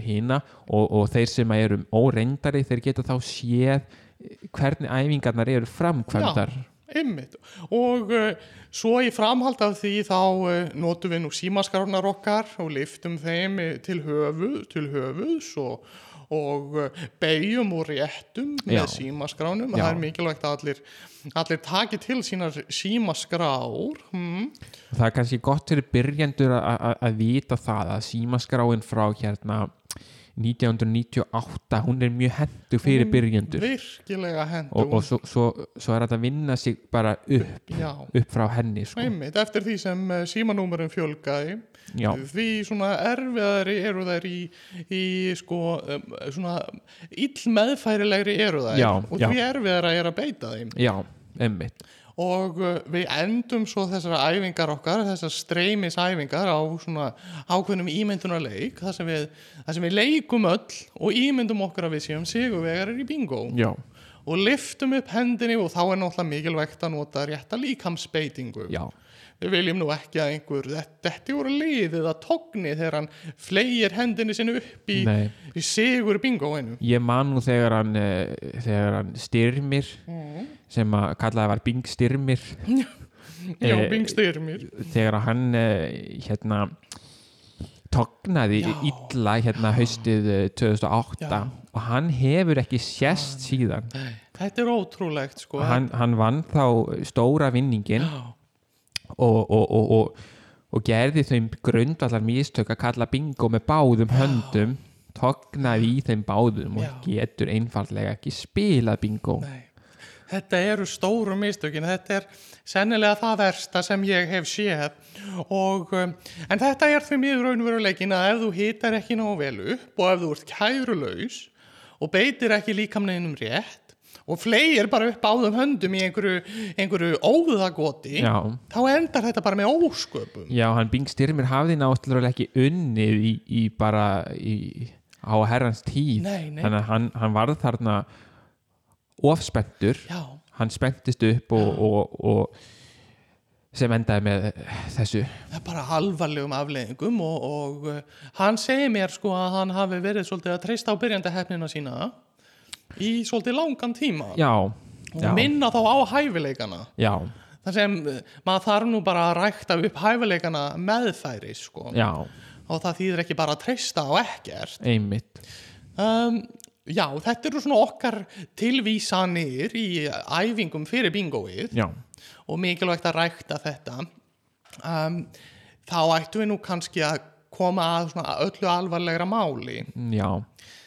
[SPEAKER 5] hína og, og þeir sem eru óreindari þeir geta þá séð eh, hvernig æfingarnar eru framkvæmdar
[SPEAKER 3] Einmitt. Og uh, svo í framhald af því þá uh, notum við nú símaskarunar okkar og liftum þeim eh, til höfuð, til höfuðs og, og uh, beigjum og réttum
[SPEAKER 5] Já.
[SPEAKER 3] með símaskránum.
[SPEAKER 5] Já.
[SPEAKER 3] Það er mikilvægt að allir, allir taki til sínar símaskrár. Hmm.
[SPEAKER 5] og það er kannski gott fyrir byrjendur að- að að vita það að símaskráin frá hérna 1998 hún er mjög hendur fyrir byrjendur
[SPEAKER 3] Virkilega hendur.
[SPEAKER 5] og, og svo, svo, svo er þetta að vinna sig bara upp,
[SPEAKER 3] Já.
[SPEAKER 5] upp frá henni sko.
[SPEAKER 3] Einmitt, eftir því sem eh, símanúmerum fjölgaði
[SPEAKER 5] Já.
[SPEAKER 3] því svona erfiðari eru þær í, í sko um, svona ill meðfærilegri eru þær
[SPEAKER 5] Já,
[SPEAKER 3] og
[SPEAKER 5] já.
[SPEAKER 3] því erfiðara er að beita þeim
[SPEAKER 5] já, einmitt
[SPEAKER 3] og uh, við endum svo þessar æfingar okkar, þessar streymis æfingar á svona ákveðnum ímyndunarleik þar sem við, þar sem við leikum öll og ímyndum okkur að við séum sigurvegarir í bingo
[SPEAKER 5] já,
[SPEAKER 3] og liftum upp hendinni og þá er náttúrulega mikilvægt að nota rétta líkamsbeitingu
[SPEAKER 5] já,
[SPEAKER 3] við viljum nú ekki að einhver þetta voru liðið að togni þegar hann fleir hendinni sinni upp í,
[SPEAKER 5] Nei.
[SPEAKER 3] í sigur bingoinu
[SPEAKER 5] ég man nú þegar hann eh, þegar hann styrmir
[SPEAKER 3] Mm.
[SPEAKER 5] sem að kallaði var Bing styrmir
[SPEAKER 3] já,
[SPEAKER 5] Eh,
[SPEAKER 3] bingstyrmir
[SPEAKER 5] þegar að hann eh, hérna tognaði
[SPEAKER 3] Já.
[SPEAKER 5] illa hérna haustið eh, 2008
[SPEAKER 3] Já.
[SPEAKER 5] og hann hefur ekki sést síðan
[SPEAKER 3] þetta er ótrúlegt sko
[SPEAKER 5] hann, hann vann þá stóra vinningin
[SPEAKER 3] Já.
[SPEAKER 5] og, og, og, og, og gerði þeim grundallar mistök að kalla bingo með báðum höndum tognaði í þeim báðum og getur einfaldlega ekki spilað bingo
[SPEAKER 3] Nei. Þetta eru stóru mistökin, þetta er sennilega það versta sem ég hef séð og um, en þetta er því miður raunveruleikin að ef þú hitar ekki nógu vel upp og ef þú ert kærulaus og beitir ekki líkamneinum rétt og fleir bara upp áðum höndum í einhverju, einhverju óðagoti
[SPEAKER 5] Já.
[SPEAKER 3] þá endar þetta bara með ósköpum
[SPEAKER 5] Já, hann Bing Styrmir hafði náttúrulega ekki unnið í, í bara í, á herrans tíð
[SPEAKER 3] Nei, nei.
[SPEAKER 5] þannig að hann, hann varð þarna ofspenntur
[SPEAKER 3] Já,
[SPEAKER 5] hann spenntist upp og, og, og sem endaði með þessu
[SPEAKER 3] það er bara alvarlegum afleðingum og, og uh, hann segir mér sko að hann hafi verið svolítið að treysta á byrjandi hefnina sína í svolítið langan tíma
[SPEAKER 5] Já,
[SPEAKER 3] og
[SPEAKER 5] já,
[SPEAKER 3] minna þá á hæfileikana
[SPEAKER 5] já,
[SPEAKER 3] þar sem eh, maður þarf nú bara að rækta upp hæfileikana meðfæri sko.
[SPEAKER 5] já,
[SPEAKER 3] og það þýðir ekki bara að treysta á ekkert
[SPEAKER 5] einmitt
[SPEAKER 3] um, já, þetta eru svona okkar tilvísanir í æfingum fyrir bingoið
[SPEAKER 5] Já,
[SPEAKER 3] og mikilvægt að rækta þetta um, þá ættum við nú kannski að koma að svona öllu alvarlegra máli
[SPEAKER 5] já,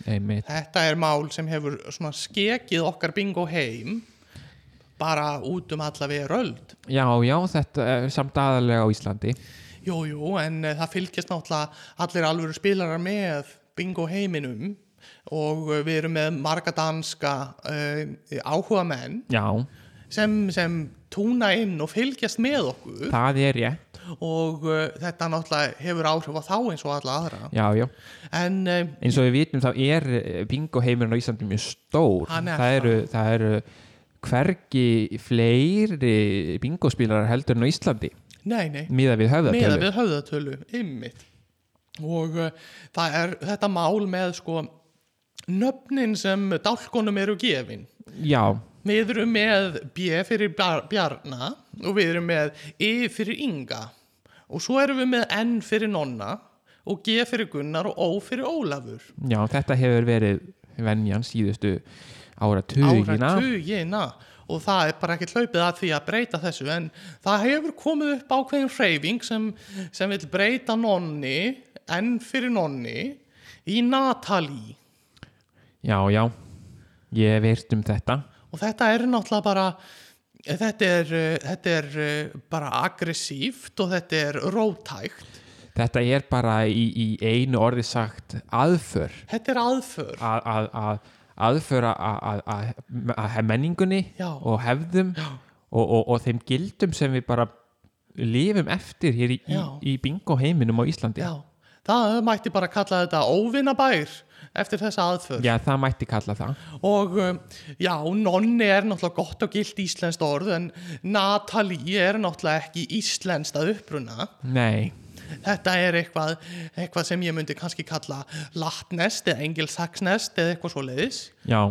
[SPEAKER 5] einmitt
[SPEAKER 3] Þetta er mál sem hefur svona skekið okkar bingo heim bara út um alla við röld.
[SPEAKER 5] Já, já, þetta er samt aðalega á Íslandi
[SPEAKER 3] Jú, jú, en eh, það fylgjast náttúrulega allir alvöru spilarar með bingo heiminum og eh, við erum með marga danska uh, áhuga menn
[SPEAKER 5] Já,
[SPEAKER 3] sem, sem túna inn og fylgjast með okkur
[SPEAKER 5] það er rétt
[SPEAKER 3] og uh, þetta náttúrulega hefur áhrif á þá eins og alla aðra.
[SPEAKER 5] Já, já
[SPEAKER 3] En uh,
[SPEAKER 5] eins og við vitum þá er bingo heimurinn á Íslandi mjög stór
[SPEAKER 3] Hann er
[SPEAKER 5] það
[SPEAKER 3] það.
[SPEAKER 5] eru, það eru hvergi fleiri bingospílarar heldur en á Íslandi
[SPEAKER 3] nei, nei.
[SPEAKER 5] miða við
[SPEAKER 3] meða
[SPEAKER 5] höfðatölu
[SPEAKER 3] við höfðatölu, ymmit og uh, það er þetta mál með sko nöfnin sem dálkunum eru gefin
[SPEAKER 5] já,
[SPEAKER 3] við erum með B fyrir Bjar- Bjarna og við erum með E fyrir Inga og svo erum við með N fyrir Nonna og G fyrir Gunnar og Ó fyrir Ólafur
[SPEAKER 5] já, þetta hefur verið venjan síðustu áratugina
[SPEAKER 3] áratugina og það er bara ekki hlaupið að því að breyta þessu en það hefur komið upp ákveðin hreyfing sem, sem vil breyta nonni, enn fyrir nonni í Natalie
[SPEAKER 5] já, já, ég hef veirt um þetta
[SPEAKER 3] og þetta er náttúrulega bara þetta er, eh, þetta er eh, bara aggressíft og þetta er rótækt
[SPEAKER 5] þetta er bara í, í einu orði sagt aðför
[SPEAKER 3] þetta er aðför
[SPEAKER 5] að, að, að aðföra að- að- að að menningunni
[SPEAKER 3] Já.
[SPEAKER 5] og hefðum og, og, og þeim gildum sem við bara lifum eftir hér í, í,
[SPEAKER 3] Já.
[SPEAKER 5] í bingo heiminum á Íslandi
[SPEAKER 3] já, það mætti bara kalla þetta óvinnabær eftir þessa aðför
[SPEAKER 5] Já, það mætti kalla það
[SPEAKER 3] Og um, já, nonni er náttúrulega gott og gilt íslenskt orð en Natalie er náttúrulega ekki íslenskt að uppruna.
[SPEAKER 5] Nei,
[SPEAKER 3] Þetta er eitthvað, eitthvað sem ég myndi kannski kalla latnest eða engilsaksnest eða eitthvað svo leiðis
[SPEAKER 5] já,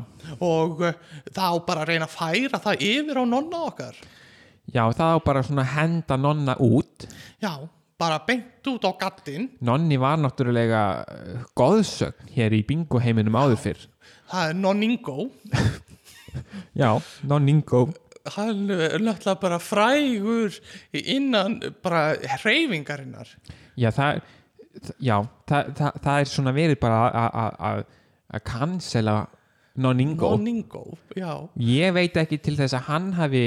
[SPEAKER 3] og uh, þá bara reyna að færa það yfir á nonna okkar.
[SPEAKER 5] já það á bara svona að henda nonna út
[SPEAKER 3] Já, bara beint út á gattinn.
[SPEAKER 5] Nonni var náttúrulega eh, goðsögn hér í bingo heiminum áður fyrr
[SPEAKER 3] Það er nonningo.
[SPEAKER 5] Já, nonningo
[SPEAKER 3] Hann uh, er náttúrulega bara frægur innan uh, bara hreyfingarinnar.
[SPEAKER 5] Já, það, já það, það, það er svona verið bara að- að- að- að cancela nonningo
[SPEAKER 3] Nonningo, já.
[SPEAKER 5] Ég veit ekki til þess að hann hafi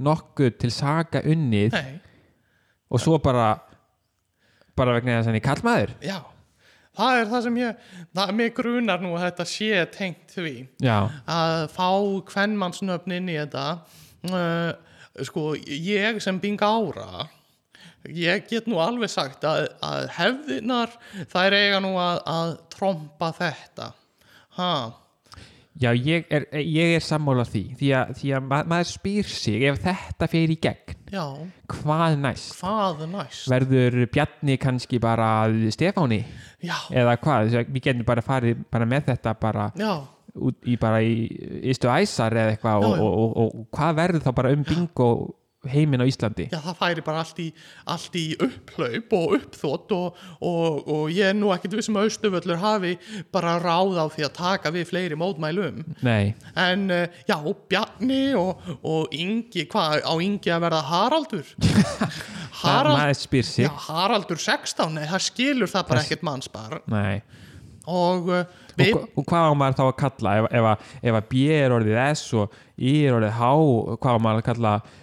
[SPEAKER 5] nokkuð til saka unnið
[SPEAKER 3] Nei.
[SPEAKER 5] og svo bara bara vegna þess að hann er kallmaður
[SPEAKER 3] Já, það er það sem ég, það, mig grunar nú að þetta sé tengt því
[SPEAKER 5] Já,
[SPEAKER 3] að fá kvennmannsnöfn inn í þetta uh, sko, ég sem binga ára ég get nú alveg sagt að, að hefðinar þær eiga nú að, að trompa þetta ha,
[SPEAKER 5] Já, ég er, ég er sammála því því að, því að ma maður spyr sig ef þetta fer í gegn,
[SPEAKER 3] Já,
[SPEAKER 5] hvað næst?
[SPEAKER 3] hvað er næst?
[SPEAKER 5] Verður Bjarni kannski bara að Stefáni
[SPEAKER 3] Já,
[SPEAKER 5] eða hvað? Þess að Við getum bara farið bara með þetta bara
[SPEAKER 3] já,
[SPEAKER 5] út í bara í Ístu Æsar eða eitthvað
[SPEAKER 3] Já,
[SPEAKER 5] og,
[SPEAKER 3] já.
[SPEAKER 5] og, og, og hvað verður þá bara um bingo heiminn á Íslandi?
[SPEAKER 3] já, það færi bara allt í, allt í upplaup og uppþót og, og, og ég er nú ekkit vissum að Östuvöllur hafi bara ráð á því að taka við fleiri mótmælum.
[SPEAKER 5] Nei,
[SPEAKER 3] En eh, já, Bjarni og, og Ingi, hvað á Ingi að verða Haraldur?
[SPEAKER 5] [laughs] það,
[SPEAKER 3] Harald,
[SPEAKER 5] maður spyr sig
[SPEAKER 3] já, Haraldur 16, nei, það skilur það bara ekkert mannsbar.
[SPEAKER 5] Nei
[SPEAKER 3] Og, eh,
[SPEAKER 5] og,
[SPEAKER 3] við,
[SPEAKER 5] hva- og hvað á maður þá að kalla ef, ef, að- ef að B er orðið S og I er orðið H hvað á maður að kalla eh,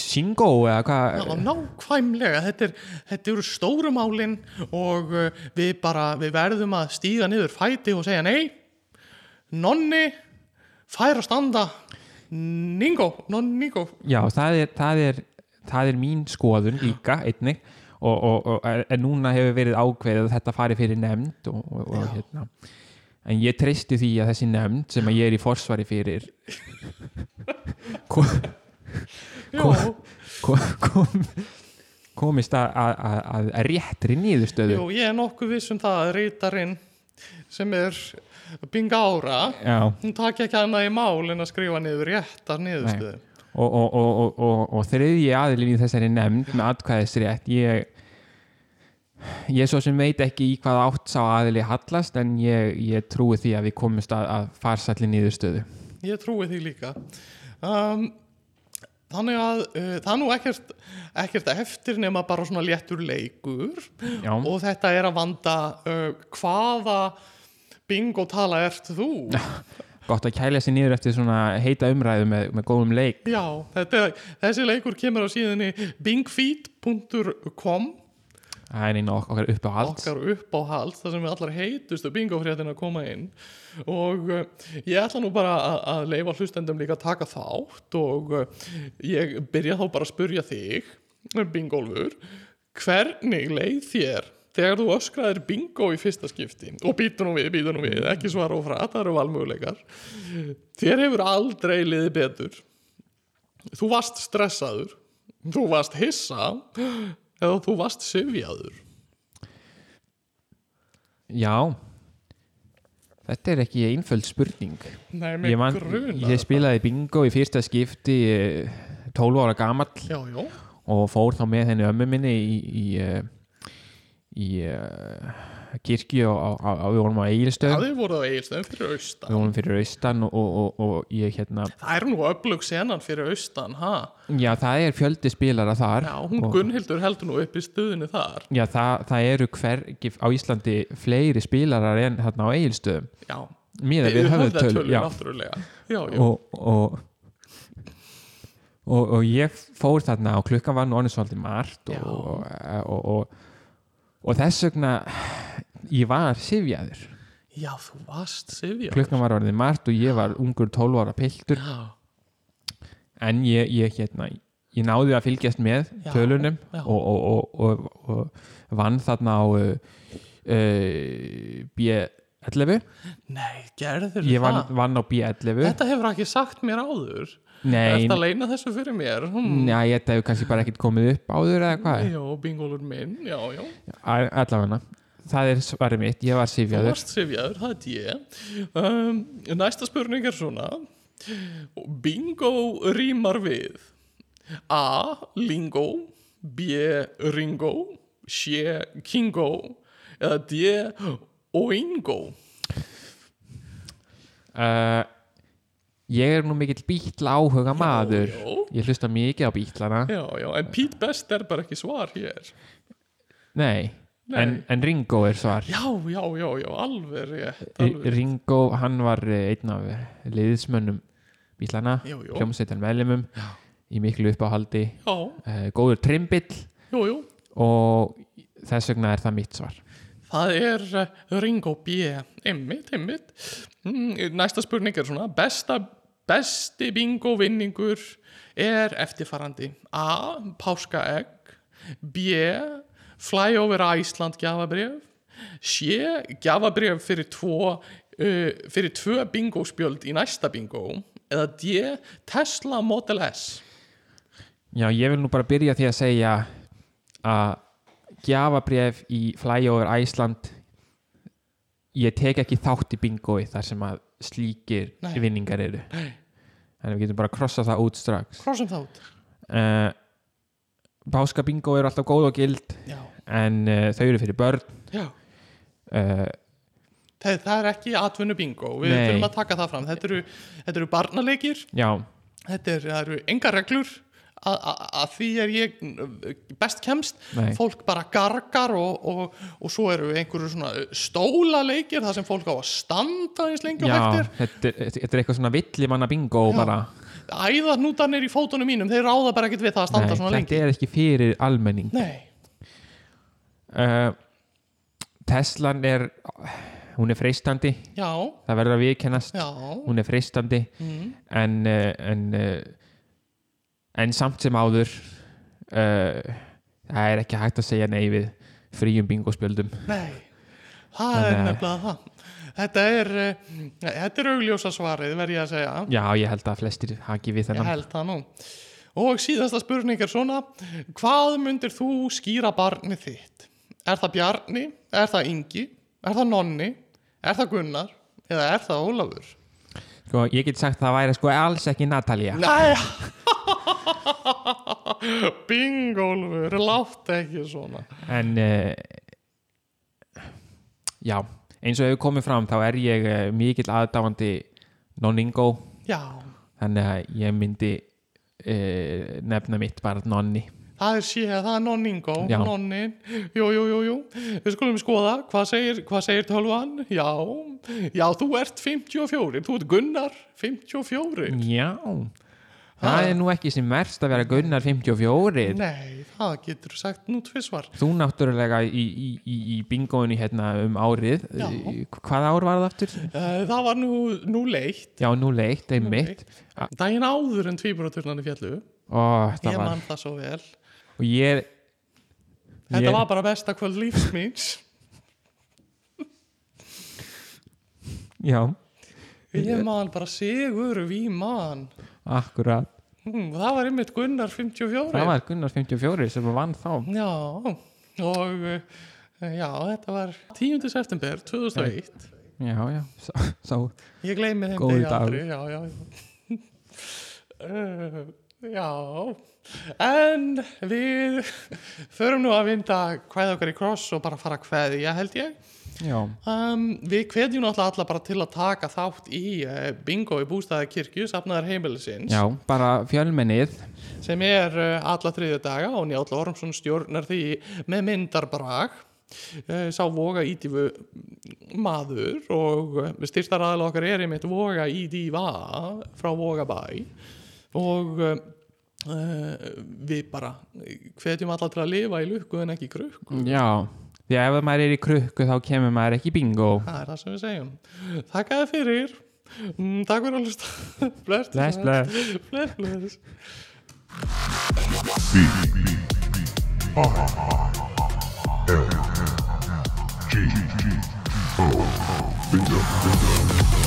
[SPEAKER 5] Shingo eða
[SPEAKER 3] já,
[SPEAKER 5] hvað
[SPEAKER 3] nákvæmlega, þetta, er, þetta eru stórumálin og eh, við bara, við verðum að stíga niður fæti og segja nei, nonni, fær að standa, ningo, nonningo,
[SPEAKER 5] já það er, það er, það er mín skoðun líka einnig og, og, og en núna hefur verið ákveðið að þetta fari fyrir nefnd og, og, og hérna en ég treysti því að þessi nefnd sem að ég er í forsvari fyrir [laughs] kom,
[SPEAKER 3] jú,
[SPEAKER 5] kom, kom, komist að, að, að, að réttri nýðustöðu
[SPEAKER 3] jú, ég er nokkuð viss um það að reytarinn sem er bingára,
[SPEAKER 5] já
[SPEAKER 3] hún takja ekki annað í mál en að skrifa niður réttar niðurstöðu.
[SPEAKER 5] og, og, og, og, og, og þriðji aðilin í þessari nefnd með atkvæðisrétt ég, ég svo sem veit ekki í hvað átt sá aðili hallast en ég, ég trúi því að við komumst að, að farsallin niðurstöðu
[SPEAKER 3] Ég trúi því líka. Um, þannig að uh, það er nú ekkert, ekkert eftir nema bara svona léttur leikur
[SPEAKER 5] Já.
[SPEAKER 3] og þetta er að vanda uh, hvaða bingo tala ert þú?
[SPEAKER 5] gott að kæla sér niður eftir svona heita umræðu með, með góðum leik
[SPEAKER 3] Já, þetta, þessi leikur kemur á síðinni bingfeed.com
[SPEAKER 5] það er einu ok okkar upp á allt
[SPEAKER 3] okkar upp á hald þar sem við allar heitustu bingofréttin að koma inn og uh, ég ætla nú bara að, að leifa hlustendum líka að taka þátt og uh, ég byrja þá bara að spurja þig bingólfur hvernig leið þér þegar þú öskraðir bingo í fyrsta skipti og býtu nú við, býtu nú við, ekki svara og frat það eru valmöguleikar þér hefur aldrei liðið betur þú varst stressaður þú varst hissa eða þú varst syfjaður
[SPEAKER 5] já þetta er ekki einföld spurning
[SPEAKER 3] Nei, mig
[SPEAKER 5] ég, man,
[SPEAKER 3] grunar
[SPEAKER 5] ég spilaði bingo í fyrsta skipti eh, 12 ára gamall
[SPEAKER 3] Já, já,
[SPEAKER 5] og fór þá með henni ömmu minni í, í, eh, í, í kirkju á, á, á, við vorum á
[SPEAKER 3] það
[SPEAKER 5] Egilstöð
[SPEAKER 3] hefur voruð á eigilstöðum fyrir austan
[SPEAKER 5] við vorum fyrir austan og, og, og, og ég hérna
[SPEAKER 3] Það er nú öflug senan fyrir austan, ha?
[SPEAKER 5] já það er fjöldi spilara þar
[SPEAKER 3] Já, hún
[SPEAKER 5] og,
[SPEAKER 3] Gunnhildur heldur nú upp í stuðinu þar
[SPEAKER 5] já það, það eru hvergi á Íslandi fleiri spilarar en hérna á Egilstöðum
[SPEAKER 3] Já,
[SPEAKER 5] miða við höfðatölu
[SPEAKER 3] höfðatölu
[SPEAKER 5] já.
[SPEAKER 3] náttúrulega Já, já,
[SPEAKER 5] og, og og, og ég fór þarna og klukkan var nú orðin svolítið margt
[SPEAKER 3] Já.
[SPEAKER 5] og, og, og, og, og þess vegna ég var sifjaður
[SPEAKER 3] já, þú varst Sivja
[SPEAKER 5] klukkan var orðið margt og ég var ungur 12 ára piltur
[SPEAKER 3] Já,
[SPEAKER 5] en ég, ég, hérna, ég náði að fylgjast með
[SPEAKER 3] Já,
[SPEAKER 5] tölunum
[SPEAKER 3] já.
[SPEAKER 5] Og, og, og, og, og vann þarna á uh, uh, B11
[SPEAKER 3] nei, gerður
[SPEAKER 5] ég vann,
[SPEAKER 3] það
[SPEAKER 5] vann á B11
[SPEAKER 3] Þetta hefur ekki sagt mér áður
[SPEAKER 5] nei,
[SPEAKER 3] Ertu að leina þessu fyrir mér? Hm.
[SPEAKER 5] nei, þetta hefur kannski bara ekkert komið upp áður eða hvað
[SPEAKER 3] Jó, bingólur minn, já, já
[SPEAKER 5] A- allavega það er svarið mitt, ég var
[SPEAKER 3] Þú
[SPEAKER 5] sifjaður
[SPEAKER 3] varst sifjaður, það er ég um, Næsta spurning er svona Bingo rýmar við A. Lingo B. Ringo C. Kingo eða D. Oingo
[SPEAKER 5] uh, ég er nú mikill bítla áhuga maður
[SPEAKER 3] já.
[SPEAKER 5] ég hlusta mikið á bítlana
[SPEAKER 3] Já, já, en Pete Best er bara ekki svar hér
[SPEAKER 5] nei,
[SPEAKER 3] Nei.
[SPEAKER 5] En, en Ringo er svar
[SPEAKER 3] Já, já, já, já, alveg rétt alveg.
[SPEAKER 5] Ringo, hann var eh, einn af liðismönnum bítlana
[SPEAKER 3] Jú, jú.
[SPEAKER 5] hljómsveitan meðlumum í miklu uppáhaldi
[SPEAKER 3] Já,
[SPEAKER 5] uh, góður trimbill
[SPEAKER 3] jú, jú
[SPEAKER 5] og þess vegna er það mitt svar
[SPEAKER 3] Það er eh, Ringo B. Einmitt, einmitt. Mm, Næsta spurning er svona, besta, besti bingo vinningur er eftirfarandi. A. Páskaegg. B. Fly over Iceland gjafabrif. C. Gjafabrif fyrir tvo uh, fyrir tvö bingo spjöld í næsta bingo eða D. Tesla Model S
[SPEAKER 5] Já, ég vil nú bara byrja því að segja að gjafabref í Flyover Iceland ég tek ekki þátt í bingoi þar sem að slíkir
[SPEAKER 3] Nei.
[SPEAKER 5] vinningar eru Nei. þannig við getum bara að krossa það út strax
[SPEAKER 3] Crossum þátt
[SPEAKER 5] uh, Báska bingo eru alltaf góð og gild
[SPEAKER 3] Já,
[SPEAKER 5] en uh, þau eru fyrir börn
[SPEAKER 3] já
[SPEAKER 5] uh,
[SPEAKER 3] Það, það er ekki atvinnu bingo, við
[SPEAKER 5] Nei.
[SPEAKER 3] þurfum að taka það fram þetta eru, þetta eru barnaleikir
[SPEAKER 5] Já,
[SPEAKER 3] þetta er, það eru engar reglur að- að að því er ég uh, best kemst,
[SPEAKER 5] Nei.
[SPEAKER 3] fólk bara gargar og, og, og svo eru einhverju svona stólaleikir þar sem fólk á að standa eins lengi og
[SPEAKER 5] já
[SPEAKER 3] hægt er
[SPEAKER 5] þetta, er- þetta er eitthvað svona villimanna bingo
[SPEAKER 3] Já.
[SPEAKER 5] bara
[SPEAKER 3] æðahnútarnir í fótunum mínum, þeir ráða bara ekkert við það að standa
[SPEAKER 5] Nei,
[SPEAKER 3] svona
[SPEAKER 5] þetta
[SPEAKER 3] lengi
[SPEAKER 5] er ekki fyrir almenning
[SPEAKER 3] Nei,
[SPEAKER 5] uh, Teslan er hún er freistandi
[SPEAKER 3] já,
[SPEAKER 5] það verður að viðkennast
[SPEAKER 3] já Mhm.
[SPEAKER 5] hún er freistandi en, uh, en, uh, en samt sem áður uh, það er ekki hægt að segja nei við fríum bingospjöldum
[SPEAKER 3] Nei, það er
[SPEAKER 5] Þannig að-
[SPEAKER 3] nefnilega það Þetta er, uh, þetta er augljósa svarið verð ég að segja
[SPEAKER 5] já ég held að flestir haki við
[SPEAKER 3] Ég
[SPEAKER 5] þennan
[SPEAKER 3] held það nú. Og síðasta spurning er svona, hvað myndir þú skýra barnið þitt? Er það Bjarni? Er það Ingi? Er það Nonni? Er það Gunnar? Eða er það Ólafur?
[SPEAKER 5] sko, ég get sagt það væri sko alls ekki Natalia
[SPEAKER 3] Næja! Bingólfur, látt ekki svona.
[SPEAKER 5] en uh, já eins og hefur komið fram þá er ég uh, mikill aðdáandi non-ingo
[SPEAKER 3] Já,
[SPEAKER 5] þannig að ég myndi uh, nefna mitt bara nonni
[SPEAKER 3] það er sé, það er Nonningo,
[SPEAKER 5] Já.
[SPEAKER 3] Nonni. Jú, jú, jú, jú. Við skulum skoða, hvað segir, hvað segir tölvan? Já, já, þú ert 54, þú ert Gunnar 54.
[SPEAKER 5] Já Það er nú ekki sem verst að vera Gunnar 54
[SPEAKER 3] Nei, það getur sagt nú tvisvar
[SPEAKER 5] Þú náttúrulega í, í, í, í bingoinu hérna um árið
[SPEAKER 3] Já.
[SPEAKER 5] Eh, Hvað ár var það aftur?
[SPEAKER 3] uh, Það var nú, nú leitt
[SPEAKER 5] Já, nú leitt, einmitt
[SPEAKER 3] Dæin áður en tvíburaturnarnir fjallu
[SPEAKER 5] Ó, það
[SPEAKER 3] Ég
[SPEAKER 5] var
[SPEAKER 3] man það svo vel
[SPEAKER 5] Og ég
[SPEAKER 3] Þetta
[SPEAKER 5] Ég-
[SPEAKER 3] var bara besta kvöld lífs míns
[SPEAKER 5] [laughs] Já,
[SPEAKER 3] Ég man bara sigur Víman
[SPEAKER 5] akkurat
[SPEAKER 3] hm, Það var einmitt Gunnar 54
[SPEAKER 5] Það var Gunnar 54 sem vann þá
[SPEAKER 3] Já, og uh, já, þetta var 10. september 2001
[SPEAKER 5] Já, já, sá, sá.
[SPEAKER 3] Ég gleymi þeim
[SPEAKER 5] Góður
[SPEAKER 3] degi
[SPEAKER 5] dagur.
[SPEAKER 3] aldrei, já, já, já. Uh, já, en við förum nú að vinda kvæði okkar í kross og bara fara að kveðja held ég.
[SPEAKER 5] já
[SPEAKER 3] Um, við kveðjum náttúrulega alla bara til að taka þátt í uh, bingo í bústæðakirkju, safnaðar heimilisins,
[SPEAKER 5] Já, bara fjölmennið
[SPEAKER 3] sem er uh, alla þriðja daga og Njáll Ormsson stjórnar því með myndarbrag. Uh, sá voga ídífu maður og styrtar aðal okkar er einmitt voga ídífa frá vogabæ og uh, við bara hvetjum alla til að lifa í lukku en ekki í krukku
[SPEAKER 5] Já, því að ef maður er í krukku þá kemur maður ekki í bingo
[SPEAKER 3] það er það sem við segjum takk að þið fyrir Mm, takk fyrir að hlusta [laughs] bless
[SPEAKER 5] Bless, bless.
[SPEAKER 3] bless, bless.
[SPEAKER 1] B R L G O bingo bingo bingo